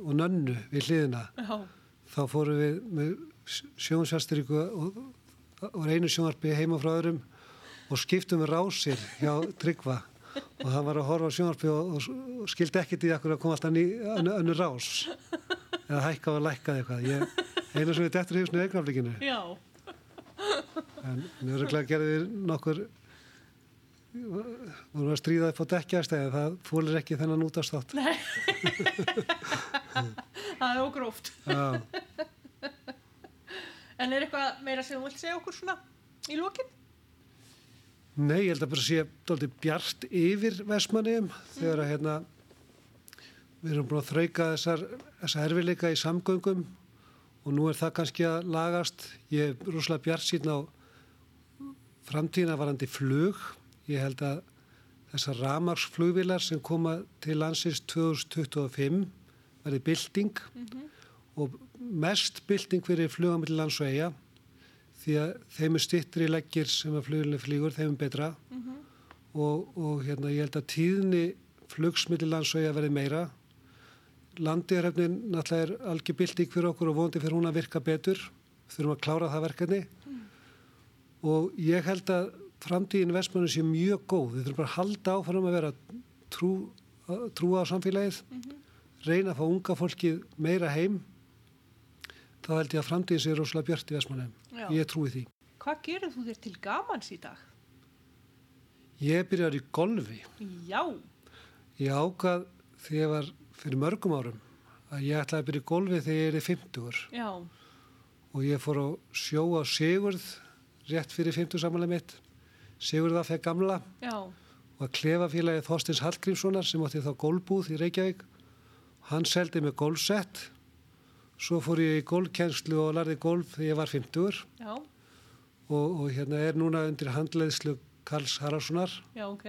B: og nönnu við hliðina,
A: já,
B: þá fórum við með sjónsjárstýringu og, og einu sjónvarpi heima frá öðrum og skiptum við rásir hjá tryggva og hann var að horfa á sjónvarpi og, og, og skildi ekkert í akkur að koma alltaf ný, önnu, önnu rás eða hækkað og lækkað eitthvað ég, einu sem er dettur í húsinu eignaflikinu
A: Já,
B: en nörgulega gerði nokkur vorum að stríða upp á dekkjastæði það fólir ekki þennan útastátt
A: nei Það er ógróft
B: Já.
A: En er eitthvað meira sem þú vilt segja okkur svona í lokin?
B: Nei, ég held að bara sé doldið bjart yfir Vestmanniðum þegar að hérna við erum búin að þrauka þessar, þessar erfileika í samgöngum og nú er það kannski að lagast. Ég er rosalega bjart síðan á framtíðina varandi flug. Ég held að þessar ramarsflugvilar sem koma til landsins 2025 verði bylting og mest bylting fyrir flugamil lands og eiga því að þeim er stittri leggir sem að fluginni flýgur, þeim er betra og, og hérna, ég held að tíðni flugsmilli landsvæja verði meira landiðarhefnin náttúrulega er algjör bylting fyrir okkur og vondi fyrir hún að virka betur þurfum að klára það verkefni og ég held að framtíðin vestmannum sé mjög góð við þurfum bara að halda áfram að vera trú, að trúa á samfélagið reyna að fá unga fólkið meira heim þá held ég að framtíðin sé rosalega björt í vestmannum
A: Já.
B: ég trúi því
A: Hvað gerir þú þér til gamans í dag?
B: ég byrjar í golfi
A: Já,
B: Ég ákvað þegar ég var fyrir mörgum árum að ég ætlaði að byrja í golfi þegar ég er í 50
A: já,
B: og ég fór á sjó á Sigurð rétt fyrir 50 samanlega mitt Sigurða feg gamla
A: já,
B: og að klefa félagið Þorstins Hallgrímssonar sem átti þá golfbúð í Reykjavík hann seldi mig golfsett svo fór ég í golfkennslu og lærði golf þegar ég var 50 og,
A: já,
B: og hérna er núna undir handleiðslu Karls Haraldssonar
A: já, ok,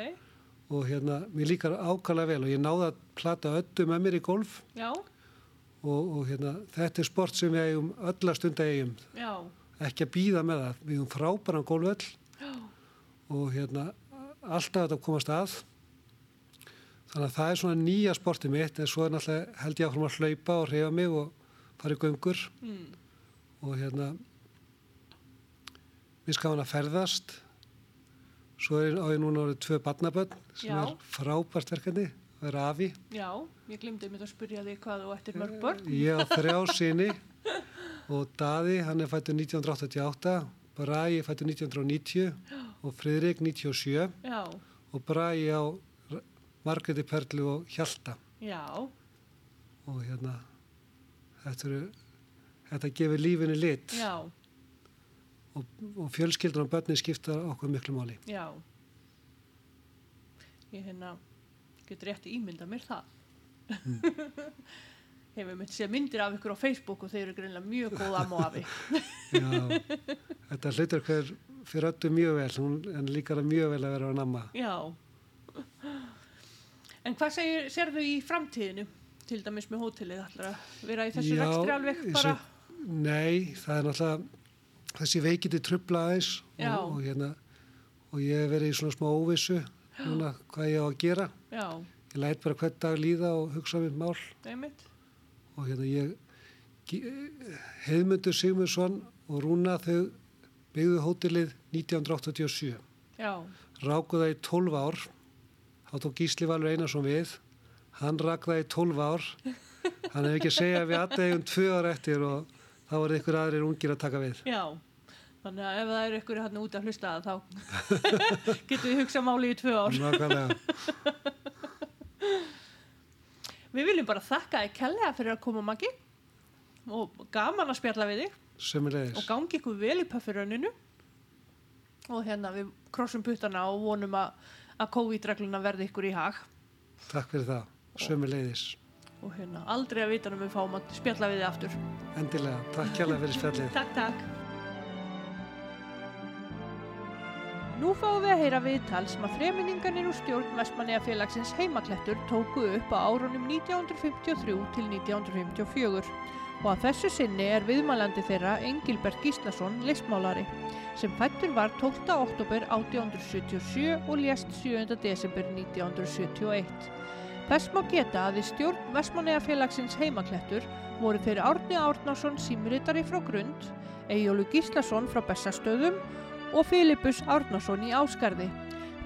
B: og hérna mér líkar ákala vel og ég náði að plata öllu með mér í golf
A: já,
B: og, og hérna, þetta er sport sem við eigum öll að stunda eigum
A: já,
B: ekki að býða með það, við eigum frábæran gólvöll og hérna alltaf þetta komast að þannig að það er svona nýja sportið mitt en svo er náttúrulega held ég áfram að hlaupa og reyfa mig og fara í göngur
A: mm.
B: og hérna mér skaf hann að ferðast svo er, á ég núna orðið tvö barnabönn sem
A: Já.
B: er frábært verkefni það er afi
A: já, ég glimdi mér að spyrja þig hvað þú ættir mörg börn.
B: Ég á þrjá sinni og Daði, hann er fættur 1988, Bragi er fættur 1990 og Friðrik 97
A: Já,
B: og Bragi á R- Margréti Perlu og Hjalta
A: já,
B: og hérna, þetta, eru, þetta gefur lífinu lit
A: já,
B: og, og fjölskyldur og börnin skipta okkur miklu máli.
A: já. Ég hérna, getur rétt ímynda mér það. Hmm. Hefur mitt séð myndir af ykkur á Facebook og þeir eru greinlega mjög góð amma og afi.
B: Já, þetta hlutur hver fyrir öllu mjög vel, hún en líkar það mjög vel að vera á namma.
A: Já. En hvað segir, serðu í framtíðinu? Til dæmis með hótelið ætlar að vera í þessu
B: Já,
A: rekstri alveg
B: þessu-
A: bara.
B: Nei, það er náttúrulega þessi veikindi trubla aðeins
A: Já.
B: og, og, hérna, og ég hef verið í svona smá óvissu núna hvað ég á að gera.
A: Já,
B: Ég læt bara hvern dag líða og hugsa um mitt mál
A: einmitt.
B: og hérna ég ge- Heiðmundur Sigmundsson og Rúna þau byggðu hótelið 1987.
A: Já,
B: Ráku það í 12 ár, þá tók Gísli Valur Einarsson við, hann rak það í 12 ár, hann hef ekki að segja að við aðdegum tvö ár eftir og þá var ykkur aðrir ungir að taka við.
A: já. Þannig að ef það eru ykkur hann út að hlusta að þá getum við hugsað máli í tvö ár.
B: Nákvæmlega.
A: Við viljum bara þakka þig kellega fyrir að koma Maggi og gaman að spjalla við þig og
B: Sömmulegis.
A: gangi ykkur vel í paffirönninu og hérna við krossum puttana og vonum að, að COVID-regluna verði ykkur í hag.
B: Takk fyrir það. Sömmulegis.
A: og hérna aldrei að vita um við fáum að spjalla við þið aftur.
B: Endilega. Takk kjærlega fyrir spjallið.
A: Takk, takk. Nú fáum við að heyra viðtal sem að þreminninganir úr stjórn Vestmanniðafélagsins heimaklettur tóku upp á árunum 1953 til 1954 og að þessu sinni er viðmælandi þeirra Engilbert Gíslason listmálari sem fættur var 12. oktober 1877 og lést 7. desember 1971. Þess má geta að í stjórn Vestmanniðafélagsins heimaklettur voru þeir Árni Árnason símritari frá Grund, Eyjólu Gíslason frá Bessastöðum og Filipus Árnason í Áskarði.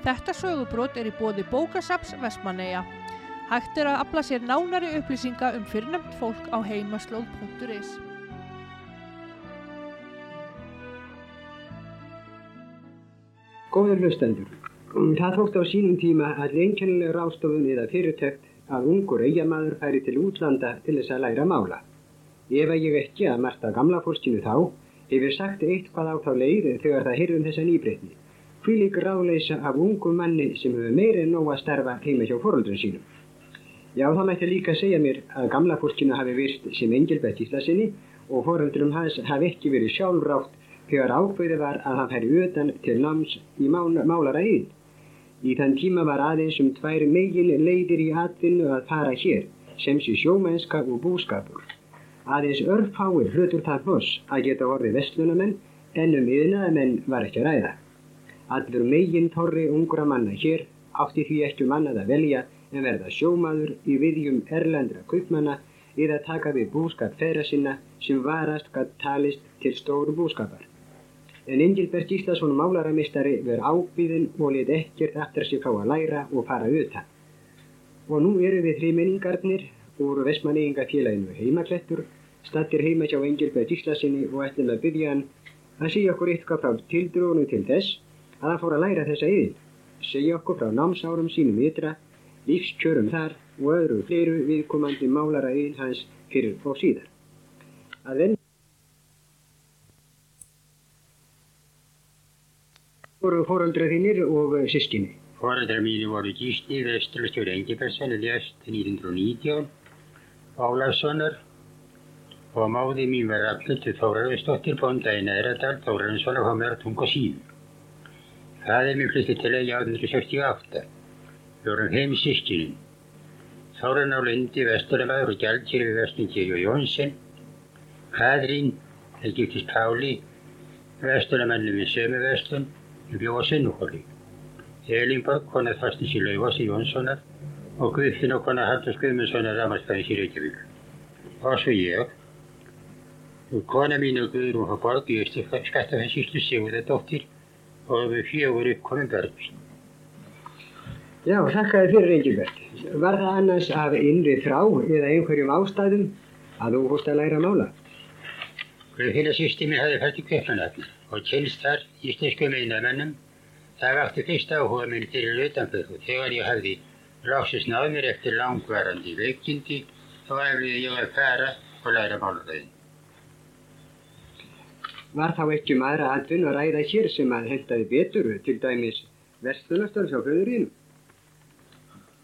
A: Þetta sögubrót er í bóði bókasaps Vestmanneia. Hægt er að afla sér nánari upplýsinga um fyrrnemt fólk á heimaslóð.is.
C: Góður hlustendur, mm, það þótt á sínum tíma að einkennileg rástofun eða fyrirtækt að ungur eigamæður færi til útlanda til þess að læra mála. Ef að ég ekki að marta gamla fórstinu þá, hefur sagt eitthvað á þá leið þegar það hyrðum þessa nýbreytni. Fylík ráðleisa af ungum manni sem hefur meira en nóg að starfa heima hjá fóröldun sínum. Já, það mætti líka segja mér að gamla fórstinu hafi virst sem engilbætt í hlasinni og fóröldurum hans hafi ekki verið sjálfrátt þegar ákveðið var að hann færi utan til náms í málara yðin. Í þann tíma var aðeins um tvær megin leiðir í atvinnu að fara hér, sem sé sjómennska og búskapur. Aðeins örfáir hlutur það hloss að geta orðið vestlunamenn en um yðnaðamenn var ekki að ræða. Allur megin torri ungra manna hér átti því ekki mannað að velja en verða sjómaður í viðjum erlendra kaupmanna eða taka við búskap ferra sinna sem varast hvað talist til stóru búskapar. En Engilbert Gíslasson málaramistari verð ábíðin og let ekkert aftur sér fá að læra og fara auðta. Og nú eru við þrýmenningarnir úr Vestmanneigingafélaginu heimaklettur, stattir heima hjá Engilbert Gíslassinni og ætlum að byggja hann að segja okkur eitthvað frá tildrónu til þess að hann fór að læra þessa yðin, segja okkur frá námsárum sínum ytra, lífskjörum þar og öðru fleiru viðkomandi málara yðin hans fyrir og síðar. Að venn voru fóröldra þínir og sískinni.
D: Fóreldrar mínu voru Gísli Vesturlustjóri Engibergsson, lest 1919, Álarssonar og máði mín var Rafnildur Þórarvisdóttir bónda í Neðradal, Þórarinsson og Hámerar Tung og Sín. Það er mér flytti til að 1868. Við vorum heim sískinin. Þóran á Lundi, Vesturamaður og Gjaldkirfi Vestingir og Jónsson. Kadrín, það giftist Páli, Vesturamennu við sömu Vestun bjóð á Sinnúhóli. Elinborg, kona Þorstins í Laufási Jónssonar og Guðfinn og kona Haldurs Guðmundssonar Ramarstæðins í Reykjavík. Og svo ég. Og kona mín og Guðrún og Borg í Skattafænsýslu Sigurðardóttir og við fjögur uppkominn börn.
C: Já, þakkaði fyrir Engilbert. Var það annars af innri þrá eða einhverjum ástæðum að þú húst að læra mála?
D: Guðfinn og sýsti mín hafði fært í Kveipmanafn og kynst þar íslensku meinamennum. Það vakti fyrst áhuga minn fyrir utanför og þegar ég hafði lásist náð mér eftir langvarandi veikindi þá æfliði ég að fara og læra málfræðin.
C: Var þá ekki um aðra atvinnu að ræða hér sem að hendaði betur, til dæmis vestunastar hjá föðurinn?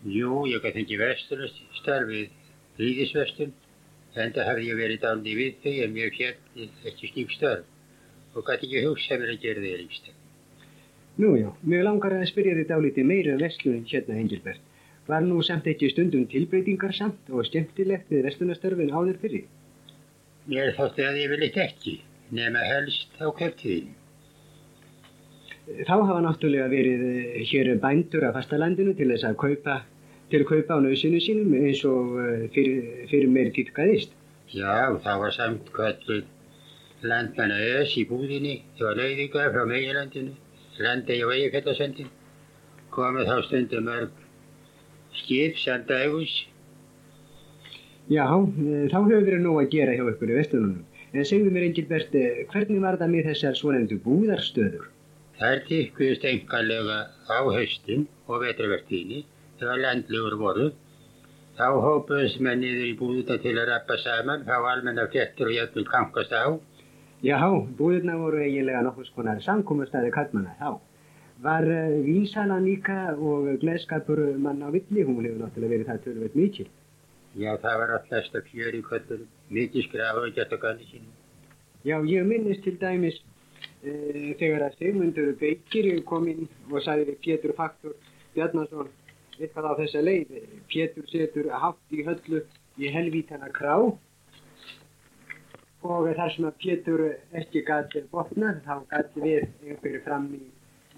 D: Jú, ég gæti fengið vestunastarfið ríðisvestun, en það hafði ég verið daldi við þau en mér fjalli ekki slík starf og gæti ekki hugsað mér að gera því að lísta.
C: Nú já, mjög langar að spyrja þið dálítið meira um vestlun hérna, Engilbert. Var nú samt ekki stundum tilbreytingar samt og skemmtilegt við vestlunastörfin áður fyrir?
D: Mér þótti að ég vil eitthvað ekki, nema helst á kvöldtíðinu.
C: Þá hafa náttúrulega verið eh, hér bændur af fastalandinu til þess að kaupa, til kaupa á nöðsynu sínum eins og eh, fyrir, fyrir meir týrkaðist.
D: Já, það var samt kvöldur landmanna öðs í búðinni, það var lauðingar frá meginlandinu, landegi og eigafjallasendin, komið þá stundum mörg skip samt dagus.
C: Já, eh, þá hefur verið nóg að gera hjá ykkur í vestununum. En segðu mér Engilbert, eh, hvernig var það með þessar svonendu búðarstöður?
D: Þær tikkuðust enganlega á haustin og vetravertíni, þegar landlegur voru. Þá hópuðust menn niður í búðina til að rappa saman, fá almenna fjettur og jöfnum kankast á.
C: Já, búðurna voru eiginlega nokkurs konar samkomustæði kallmanna þá. Var eh, vínsalan líka og gleðskapur mann á villi, hún hefur náttúrulega verið það tölvöld mikil.
D: Já, það var allast að fjör í kvöldur, mikið skrafa og gett á ganni sínum.
C: Já, ég minnist til dæmis e, þegar að Sigmundur Beikir kom inn og sagði við Pétur Faktur Bjarnason eitthvað á þessa leið. Pétur setur haft í höllu í helvítana krá og þar sem að Pétur ekki gæti botna þá gæti við einhverju fram í,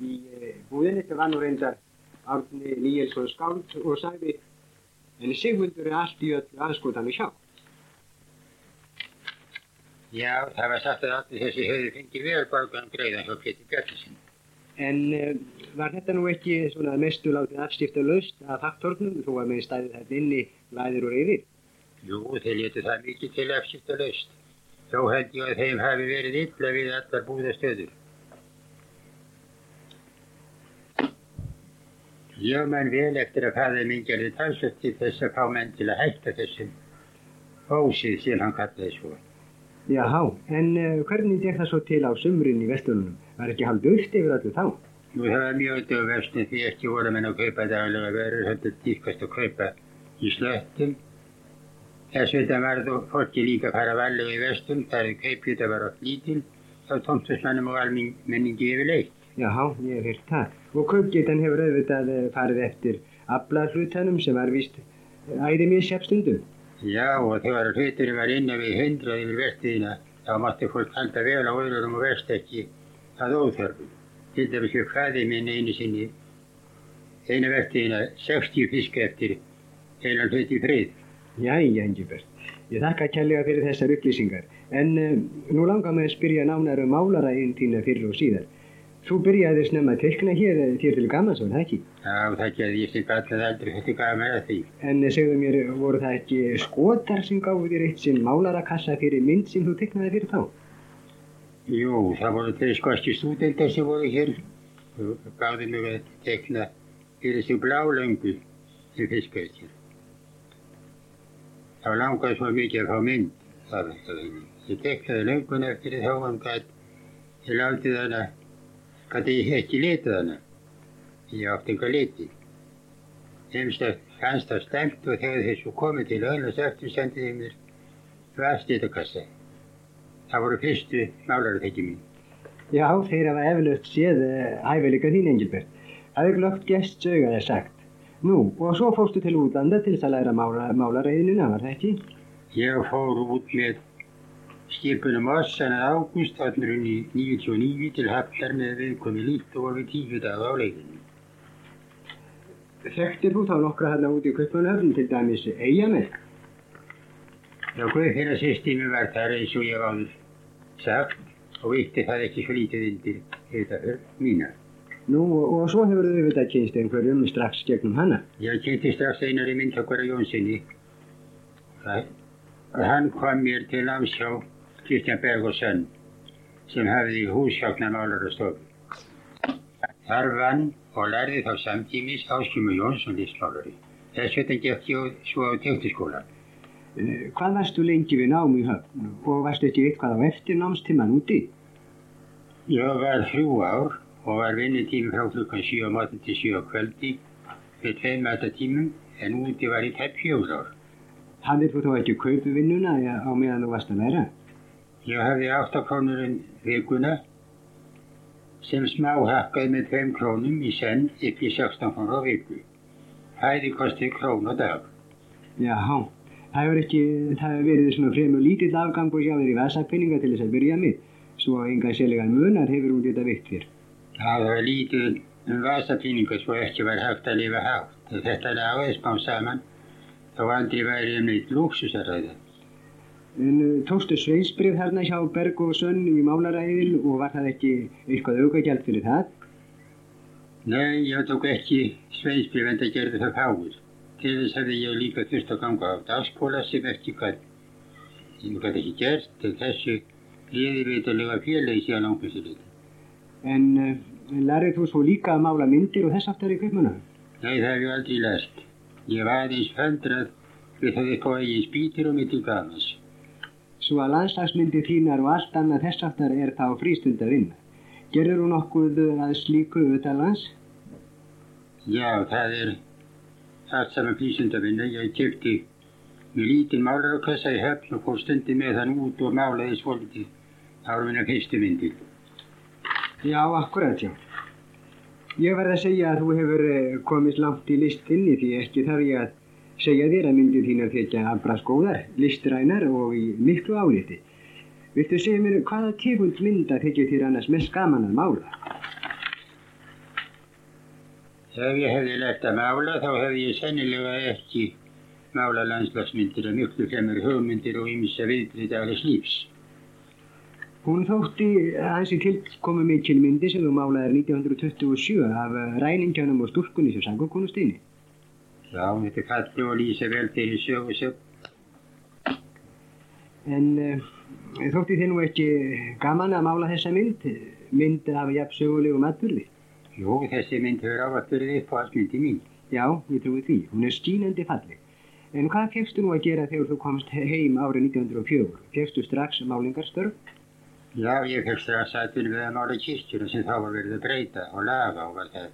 C: í eh, búðinni. Þetta var nú reyndar Árni Níelsson skáld og sagði en Sigmundur er allt í öllu anskotanum hjá.
D: Já, það var sagt að allir þessi höfðu fengið vel borgan greiðan hjá Pétur Bjarnason.
C: En uh, var þetta nú ekki svona að mestu látið afskipta laust að faktornum þó að með stæði þetta inni læðir og reyðir?
D: Jú, þeir letu það mikið til afskipta laust. Þó held ég að þeim hafi verið illa við allar búðastöður. Ég menn vel eftir að faðið minn gerði talsvöld til þess að fá menn til að hætta þessum ósið sem hann kallaði svo.
C: Jáhá, en uh, hvernig dekk það svo til á sumrin í vestunum? Var ekki haldið aukt yfir öllu þá?
D: Nú það var mjög dögverstinn því ekki voru menn að kaupa daglega verður heldur dýrkast að kaupa í slöttum. Þess vegna var þó fólki líka að fara varlega í vestum, það er kaupjuta var oft lítil, þá tómstusmannum og almenningi yfirleitt.
C: Jáhá, ég hef hýrt það. Og kaupgetan hefur auðvitað eh, farið eftir aflaðhlutanum sem var víst æði mér sérstundum.
D: Já, og þegar hluturinn var innan við hundrað yfir vertiðina, þá mátti fólk halda vel á öðrum og verst ekki að óþörfum. Til dæmis við fæði minn einu sinni, einu vertiðina, 60 fisk eftir heilan hlut í frið.
C: Jæja, Engilbert. Ég þakka kærlega fyrir þessar upplýsingar. En uh, nú langar mig að spyrja nánar um málara einn tína fyrir og síðar. Þú byrjaði snemma að teikna hér eh, þér til gamans, var það ekki?
D: Já, það gerði ég sem gallað aldrei þetta gaf mér að því.
C: En eh, segðu mér, voru það ekki skotar sem gáðu þér eitt sinn málarakassa fyrir mynd sem þú teiknaði fyrir þá?
D: Jú, það voru þeir skoski stúdendar sem voru hér og gáði mig að tekna fyrir þessu blálöngu sem fiskauðir. Þá langaði svo mikið að fá mynd af þessu. Ég teknaði löngun eftir þá hann gætt, ég látið hana, gætt ég ekki litið hana. Ég átti enga liti. Þeimst að fannst það stemt og þegar þessu komið til öðnars eftir sendið ég mér vastitakassa. Það voru fyrstu málarartekki mín.
C: Já, þeir hafa eflaust séð eh, hæfileika þín, Engilbert. Það er glögt gest sögaði sagt. Nú, og svo fórstu til útlanda til þess að læra mála, málareiðinuna, var það ekki?
D: Ég fór út með skipunum Ossan að ágúst 1899 til Hafnar með viðkomi líkt og alveg tíu dag á leikinu.
C: Þekktir þú þá nokkra hérna úti í Kaupmannhöfn, til dæmis Eyjamenn?
D: Já, Guðfinna sýstimi var þar eins og ég hef áður sagt og vilti það ekki svo lítið undir þetta mína.
C: Nú, og svo hefur þau auðvitað kynst einhverjum strax gegnum hana.
D: Ég kynnti strax einar í myndtökvara Jónssoni. Það- og Hann kom mér til námsjá Kristján Bergosson sem hafði húsjákna málararstofu. Þar vann og lærði þá samtímis Áskjömu Jónsson listmálari. Þess vegna gekk ég svo á tekniskóla.
C: Eh, Hvað varstu lengi við nám í höfn og varstu ekki eitthvað á eftir námstíman úti?
D: Ég var þrjú ár og var vinnutími frá klukkan 7 á matin til 7 á kvöldi með tveim matatímum en úti var ég tæpp fjóð ár.
C: Hafðir þú þá ekki kaupu vinnuna ja, á meðan þú varst að læra?
D: Ég hafði 8 krónur um vikuna sem smá hakkaði með 2 krónum í senn upp í 16 krónur á viku. Hæði kostið krón og dag.
C: Jáhá, það hefur ekki, það hefur verið svona fremur lítill afgangur hjá þér í vasapinninga til þess að byrja með, svo enga sérlegan munar hefur hún þetta veitt þér.
D: Það var lítið um vasapíningu svo ekki var hægt að lifa hátt. Þetta lagaði smá saman þó andri væri um neitt lúksus að ræða.
C: En eh, tókstu sveinsbrif þarna hjá Berg og Sönn í málaræðil og var það ekki eitthvað aukagjald fyrir það?
D: Nei, ég tók ekki sveinsbrif en það gerði það fáir. Til þess hefði ég líka þurft að ganga á dagskóla sem ekki hvað ég gæti ekki gert en þessu liði veitulega félagi síðan ákvæmstu liti.
C: En uh, lærið þú svo líka að mála myndir og þess aftar í kaupmanna?
D: Nei, það hef ég aldrei lært. Ég var aðeins föndrað við það eitthvað að ég spýtir og mitt til gamans.
C: Svo að landslagsmyndir þínar og allt annað þess aftar er þá frístunda vinna. Gerður þú nokkuð að slíku auðvitað lands?
D: Já, það er allt saman frísundavinna. Ég kefti með lítinn málar og kassa í höfn og fór stundin með hann út og málaði svolítið ára minna fyrstu myndir.
C: Já, akkurat, já. Ég verð að segja að þú hefur eh, komist langt í listinni því ekki þarf ég að segja þér að myndir þínar þykja afbrast góðar, listrænar og í miklu áliti. Viltu segja mér hvaða tegund mynda þykir þér annars mest gaman að mála?
D: Ef ég hefði lært að mála þá hefði ég sennilega ekki mála landslagsmyndir að miklu fremur hugmyndir og ymsa viðbrið daglegs lífs.
C: Hún þótti aðeins í tilkomi mikil myndi sem þú málaðir 1927 af rælingjanum og stúrkunni sem sangur konu steini.
D: Já, þetta er kallu og lýsa vel fyrir sögu sög.
C: En uh, þótti þið nú ekki gaman að mála þessa mynd, mynd af jafn sögulegum atbyrði.
D: Jú, þessi mynd hefur ávallt verið uppáhaldsmyndi mín.
C: Já, ég trúi því, hún er skínandi falleg. En hvað fegstu nú að gera þegar þú komst heim árið 1904? Fegstu strax málingarstörf?
D: Já, ég fyrst að sættin við að mála kirkjuna sem þá var verið að breyta og laga og var það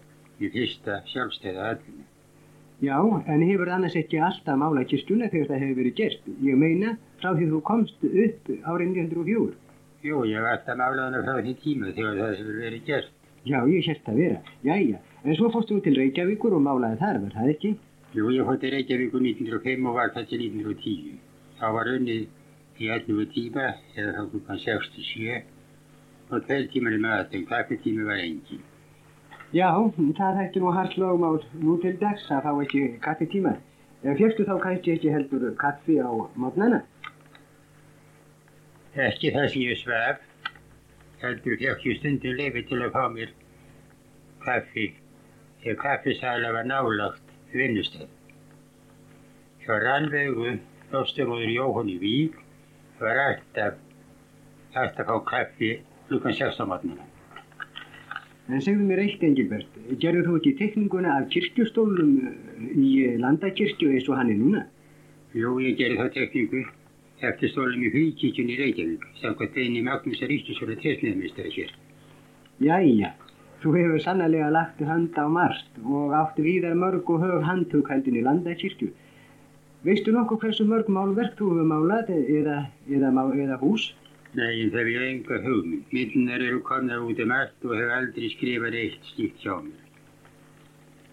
D: í fyrsta sjálfstæða aðlunni.
C: Já, en hefur það annars ekki alltaf mála kistuna þegar það hefur verið gert. Ég meina, frá því þú komst upp árið 1904.
D: Jú, ég var alltaf málaðan frá því tíma þegar það hefur verið gert.
C: Já, ég hérst að vera. Jæja, en svo fórstu þú til Reykjavíkur og málaði þar, var það ekki?
D: Jú, ég fótti Reykjavíkur 1905 og var það til 1910. Þá var unnið í 11 tíma, eða þá klukkan 67 og tveir tímar í matum, kaffitími var engin.
C: Já, það hættu nú hartlögum á nú til dags að fá ekki kaffi tímar. En fjöfstu þá kannski ekki heldur kaffi á mótnana?
D: Ekki það sem ég svef, heldur fekk ég stundum lefi til að fá mér kaffi, þegar kaffisæla var nálagt vinnustöð. Hjá rannvegu, lofstumóður Jóhann í Vík, var alltaf, alltaf á kaffi klukkan 16 matnuna.
C: En segðu mér eitt, Engilbert, gerður þú ekki tekninguna af kirkjustólum í landakirkju eins og hann er núna?
D: Jú, ég gerði þá tekningu eftir stólum í hugkíkjunni í Reykjavík, samkvæmt beinni Magnús Ríkjusson að trefniðamistari hér.
C: Jæja, þú hefur sannlega lagt hand á marst og átt viðar mörg og höf handtökhældin í landakirkju. Veistu nokkuð hversu mörg málverk þú hefur málað eða, eða, má- eða hús?
D: Nei, en það við enga hugmynd. Myndunar eru komnar út um allt og hefur aldrei skrifað eitt stíkt hjá mér.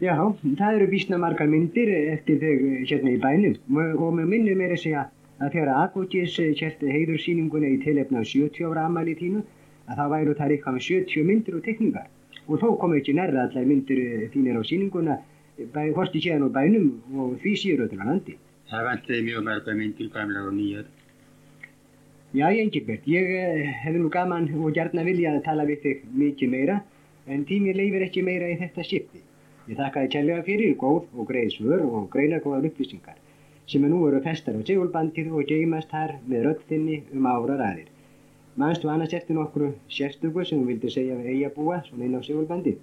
C: Já, það eru býstna margar myndir eftir þau hérna í bænum og og með minnum er að segja að þegar Agogis kert heiðursýninguna í tilefna af 70 ára amali þínu að þá væru þar eitthvað með 70 myndir og tekningar og þó komu ekki nærra allar myndir eh, þínar á sýninguna bæ, hvorti séðan úr bænum og því síður öllum að landi.
D: Það vantiði mjög marga myndir gamla og nýjar.
C: Já, Engilbert, ég eh, hefði nú gaman og gjarna viljað að tala við þig mikið meira en tímið leifir ekki meira í þetta skipti. Ég þakka þið kærlega fyrir góð og greið svör og greinagóðar upplýsingar sem nú eru festar á segulbandið og geimast þar með röddinni um ára ræðir. Manstu annars eftir nokkru sérstöku sem þú vildi segja við eiga búa svona inn á segulbandið?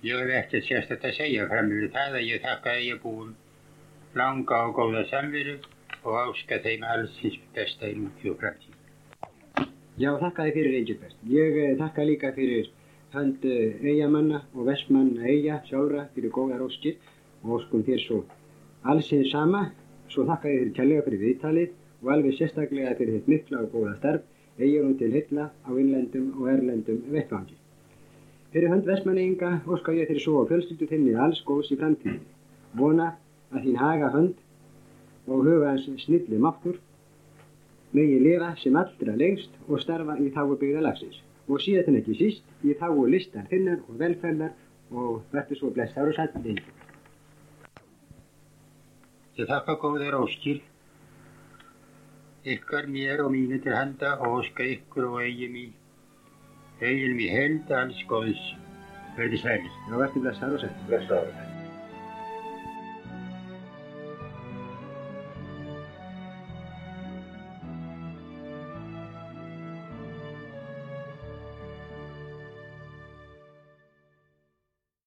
D: Ég hef ekkert sérstætt að segja fram yfir það að ég þakka að ég búum langa og góða samveru og áska þeim alls hins besta í núti og framtíð.
C: Já, þakka þið fyrir Engilbert. Ég eh, þakka líka fyrir hönd eigamanna og vestmanna eiga sjálfra fyrir góða róskir og óskum þér svo alls hins sama. Svo þakka ég þér kærlega fyrir viðtalið og alveg sérstaklega fyrir þitt mikla og góða starf eiginum til heilla á innlendum og erlendum vettvangi. Fyrir hönd vestmanneinga óska ég þér svo og fjölskyldu þinni alls góðs í framtíðinni. Vona að þín haga hönd og huga hans snilli máttur megi lifa sem allra lengst og starfa í þágu byggðalagsins og síðan en ekki síst í þágu listar þinnar og velferðar og verður svo blessaður og sættin
D: Ég þakka góðar óskil ykkar mér og mínu til handa og óska ykkur og eigum í eiginum í held alls góðs verði sælis.
C: og verður blessaður og sættin
D: Blessaður.